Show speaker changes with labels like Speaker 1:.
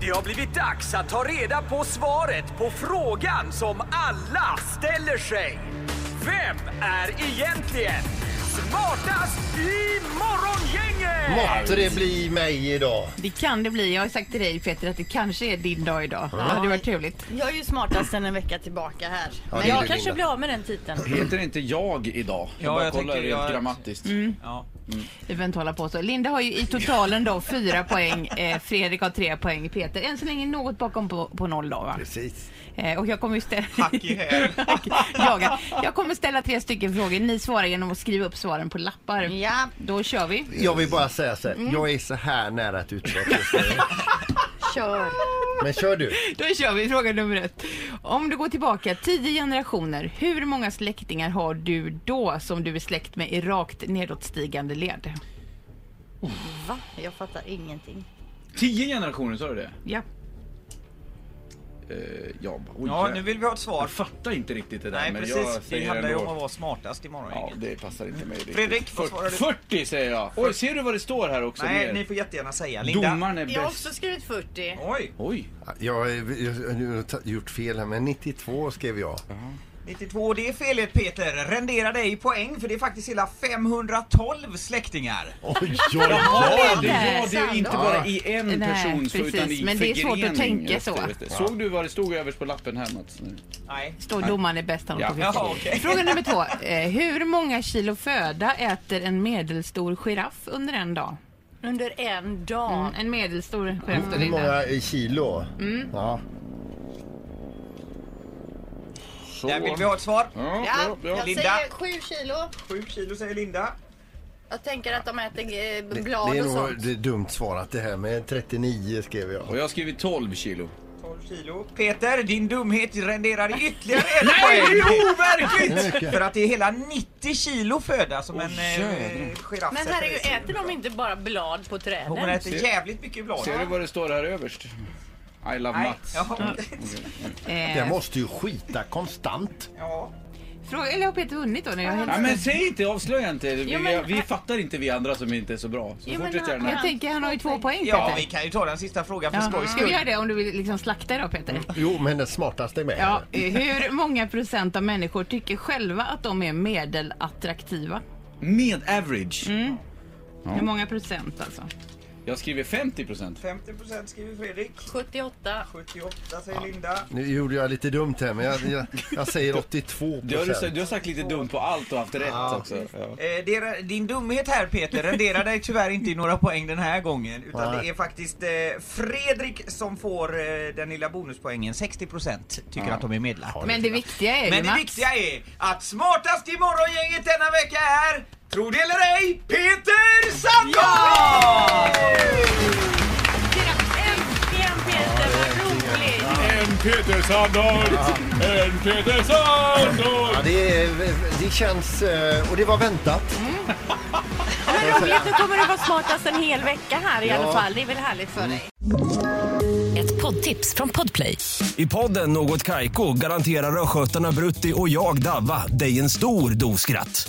Speaker 1: det har blivit dags att ta reda på svaret på frågan som alla ställer sig. Vem är egentligen smartast i Morgongänget?
Speaker 2: Måtte det bli mig idag.
Speaker 3: Det kan det bli. Jag har sagt till dig Peter att det kanske är din dag idag. Det hade varit trevligt.
Speaker 4: Jag är ju smartast sedan en vecka tillbaka här.
Speaker 2: Ja,
Speaker 4: Men
Speaker 2: det är
Speaker 4: jag
Speaker 2: du,
Speaker 4: kanske
Speaker 2: Linda.
Speaker 4: blir av med den titeln.
Speaker 5: Heter inte jag idag? Jag
Speaker 6: Ja,
Speaker 5: bara
Speaker 6: jag
Speaker 5: kollar
Speaker 6: tänker
Speaker 5: rent
Speaker 6: jag- Mm.
Speaker 5: grammatiskt.
Speaker 6: Ja.
Speaker 3: Vi behöver inte hålla på så. Linda har ju i totalen då fyra poäng. Eh, Fredrik har tre poäng. Peter än så länge något bakom på, på noll då va?
Speaker 2: Precis.
Speaker 3: Eh, och jag kommer ju ställa...
Speaker 6: Hack i häl.
Speaker 3: Jaga. jag kommer ställa tre stycken frågor. Ni svarar genom att skriva upp svaren på lappar.
Speaker 4: Ja,
Speaker 3: Då kör vi.
Speaker 2: Jag vill bara säga så här,
Speaker 4: Mm.
Speaker 2: jag är så här nära ett utbrott just nu.
Speaker 4: kör.
Speaker 2: Men kör du.
Speaker 3: Då kör vi fråga nummer ett. Om du går tillbaka tio generationer, hur många släktingar har du då som du är släkt med i rakt nedåtstigande led?
Speaker 4: Va? Jag fattar ingenting.
Speaker 5: Tio generationer, sa du det?
Speaker 3: Ja.
Speaker 5: Eh, jag bara, oj,
Speaker 6: ja,
Speaker 5: jag-
Speaker 6: nu vill vi ha ett svar.
Speaker 5: Jag fattar inte riktigt det där
Speaker 6: Nej,
Speaker 5: men jag
Speaker 6: precis. Det
Speaker 5: säger
Speaker 6: handlar ju om
Speaker 5: ändå...
Speaker 6: att vara smartast i
Speaker 5: Ja,
Speaker 6: Morgongänget.
Speaker 5: det passar inte mig riktigt.
Speaker 6: Fredrik, vad
Speaker 5: Fyrt-
Speaker 6: svarar du?
Speaker 5: 40 säger jag! Oj, ser du vad det står här också?
Speaker 6: Nej,
Speaker 5: ner?
Speaker 6: ni får jättegärna säga. Linda.
Speaker 5: Domaren är
Speaker 4: Jag har
Speaker 5: bäst.
Speaker 4: också skrivit 40.
Speaker 6: Oj,
Speaker 5: Oj!
Speaker 2: Jag har jag- jag har ta- gjort fel här, men 92 skrev jag.
Speaker 6: 92. Det är felet Peter. Rendera dig i poäng för det är faktiskt hela 512 släktingar.
Speaker 2: Oj, oj, oj.
Speaker 5: Ja, det,
Speaker 3: Peter,
Speaker 5: ja, det är inte bara i en
Speaker 3: Nej,
Speaker 5: persons
Speaker 3: precis,
Speaker 5: utan i
Speaker 3: men det är svårt att
Speaker 5: förgrening.
Speaker 3: tänka
Speaker 5: Just det,
Speaker 3: så.
Speaker 5: just det. Såg du vad det stod överst på lappen här Mats?
Speaker 6: Nej.
Speaker 3: Står domaren är bäst han
Speaker 5: Ja.
Speaker 3: på fisk.
Speaker 6: Jaha, okej.
Speaker 3: Fråga nummer två. Eh, hur många kilo föda äter en medelstor giraff under en dag?
Speaker 4: Under en dag.
Speaker 3: Mm, en medelstor giraff.
Speaker 6: Mm.
Speaker 3: då,
Speaker 2: Hur
Speaker 3: Linda.
Speaker 2: många i kilo?
Speaker 4: Mm.
Speaker 2: Ja.
Speaker 5: Så.
Speaker 6: Där vill vi ha ett svar.
Speaker 5: Ja,
Speaker 4: Ja,
Speaker 5: ja,
Speaker 4: jag
Speaker 5: ja.
Speaker 6: Linda.
Speaker 4: säger 7 kilo.
Speaker 6: 7 kilo säger Linda.
Speaker 4: Jag tänker att de äter eh,
Speaker 2: Det, det
Speaker 4: blad
Speaker 2: är
Speaker 4: och
Speaker 2: nog
Speaker 4: sånt.
Speaker 2: det är dumt svarat det här, men 39 skrev jag.
Speaker 5: Och jag har skrivit 12 kilo.
Speaker 6: 12 kilo. Peter, din dumhet renderar i ytterligare ett poäng. Nej, det är overkligt! för att det är hela 90 kilo föda som en eh,
Speaker 5: jädrar.
Speaker 6: giraff
Speaker 4: Men
Speaker 6: sätter i
Speaker 4: herregud,
Speaker 6: sig.
Speaker 4: äter de inte bara blad på
Speaker 6: Hon
Speaker 4: träden?
Speaker 6: äter jävligt mycket blad.
Speaker 5: Ser du vad det står här överst? I love
Speaker 6: Nej,
Speaker 5: Mats. Mm.
Speaker 6: ja.
Speaker 2: Jag
Speaker 3: Eh,
Speaker 2: måste ju skita konstant.
Speaker 6: ja.
Speaker 3: fråga, eller har Peter vunnit då? När jag
Speaker 5: Nej men säg inte, avslöja inte. Vi,
Speaker 3: Alltså, Jo, men-
Speaker 5: vi, vi fattar inte vi andra som inte är så bra. Så
Speaker 4: Jo, men-
Speaker 5: fortsätt gärna.
Speaker 3: jag tänker han har ju två poäng
Speaker 6: Ja, vi
Speaker 3: Peter.
Speaker 6: kan ju ta den sista frågan för skojs
Speaker 3: Ska vi
Speaker 6: skull. Mm.
Speaker 3: göra det om du vill liksom slakta idag Peter?
Speaker 2: Jo, men den smartaste är med.
Speaker 3: Ja, eh, hur många procent av människor tycker själva att de är medelattraktiva?
Speaker 5: Med average.
Speaker 3: Hur många procent alltså?
Speaker 5: Jag skriver 50%.
Speaker 6: 50% skriver Fredrik.
Speaker 4: 78.
Speaker 6: 78 säger Linda.
Speaker 2: Nu gjorde jag lite dumt här, men jag, jag, jag säger 82
Speaker 5: Du har, du,
Speaker 2: procent.
Speaker 5: du har sagt lite dumt på allt och haft rätt också. Ja.
Speaker 6: Eh, det- din dumhet här Peter renderar dig tyvärr inte i några poäng den här gången. Utan
Speaker 2: Nej.
Speaker 6: det är faktiskt eh, Fredrik som får eh, den lilla bonuspoängen. 60% tycker att de är medla.
Speaker 3: Men det viktiga är ju
Speaker 6: Men det
Speaker 3: Mats.
Speaker 6: viktiga är att smartast i morgongänget denna vecka är, tro det eller ej, Peter Sandberg!
Speaker 4: Äntligen Peter, vad roligt!
Speaker 5: En Peter Sandahl! En Peter Sandahl!
Speaker 2: Ja, det, är- det känns... eh, Och det var väntat.
Speaker 4: Vad roligt, du kommer att vara smartast en hel vecka här i alla
Speaker 2: Ja.
Speaker 4: fall. Det är väl härligt för dig?
Speaker 7: Ett poddtips från Podplay.
Speaker 8: I podden Något Kaiko garanterar östgötarna Brutti och jag, Davva, dig en stor dos skratt.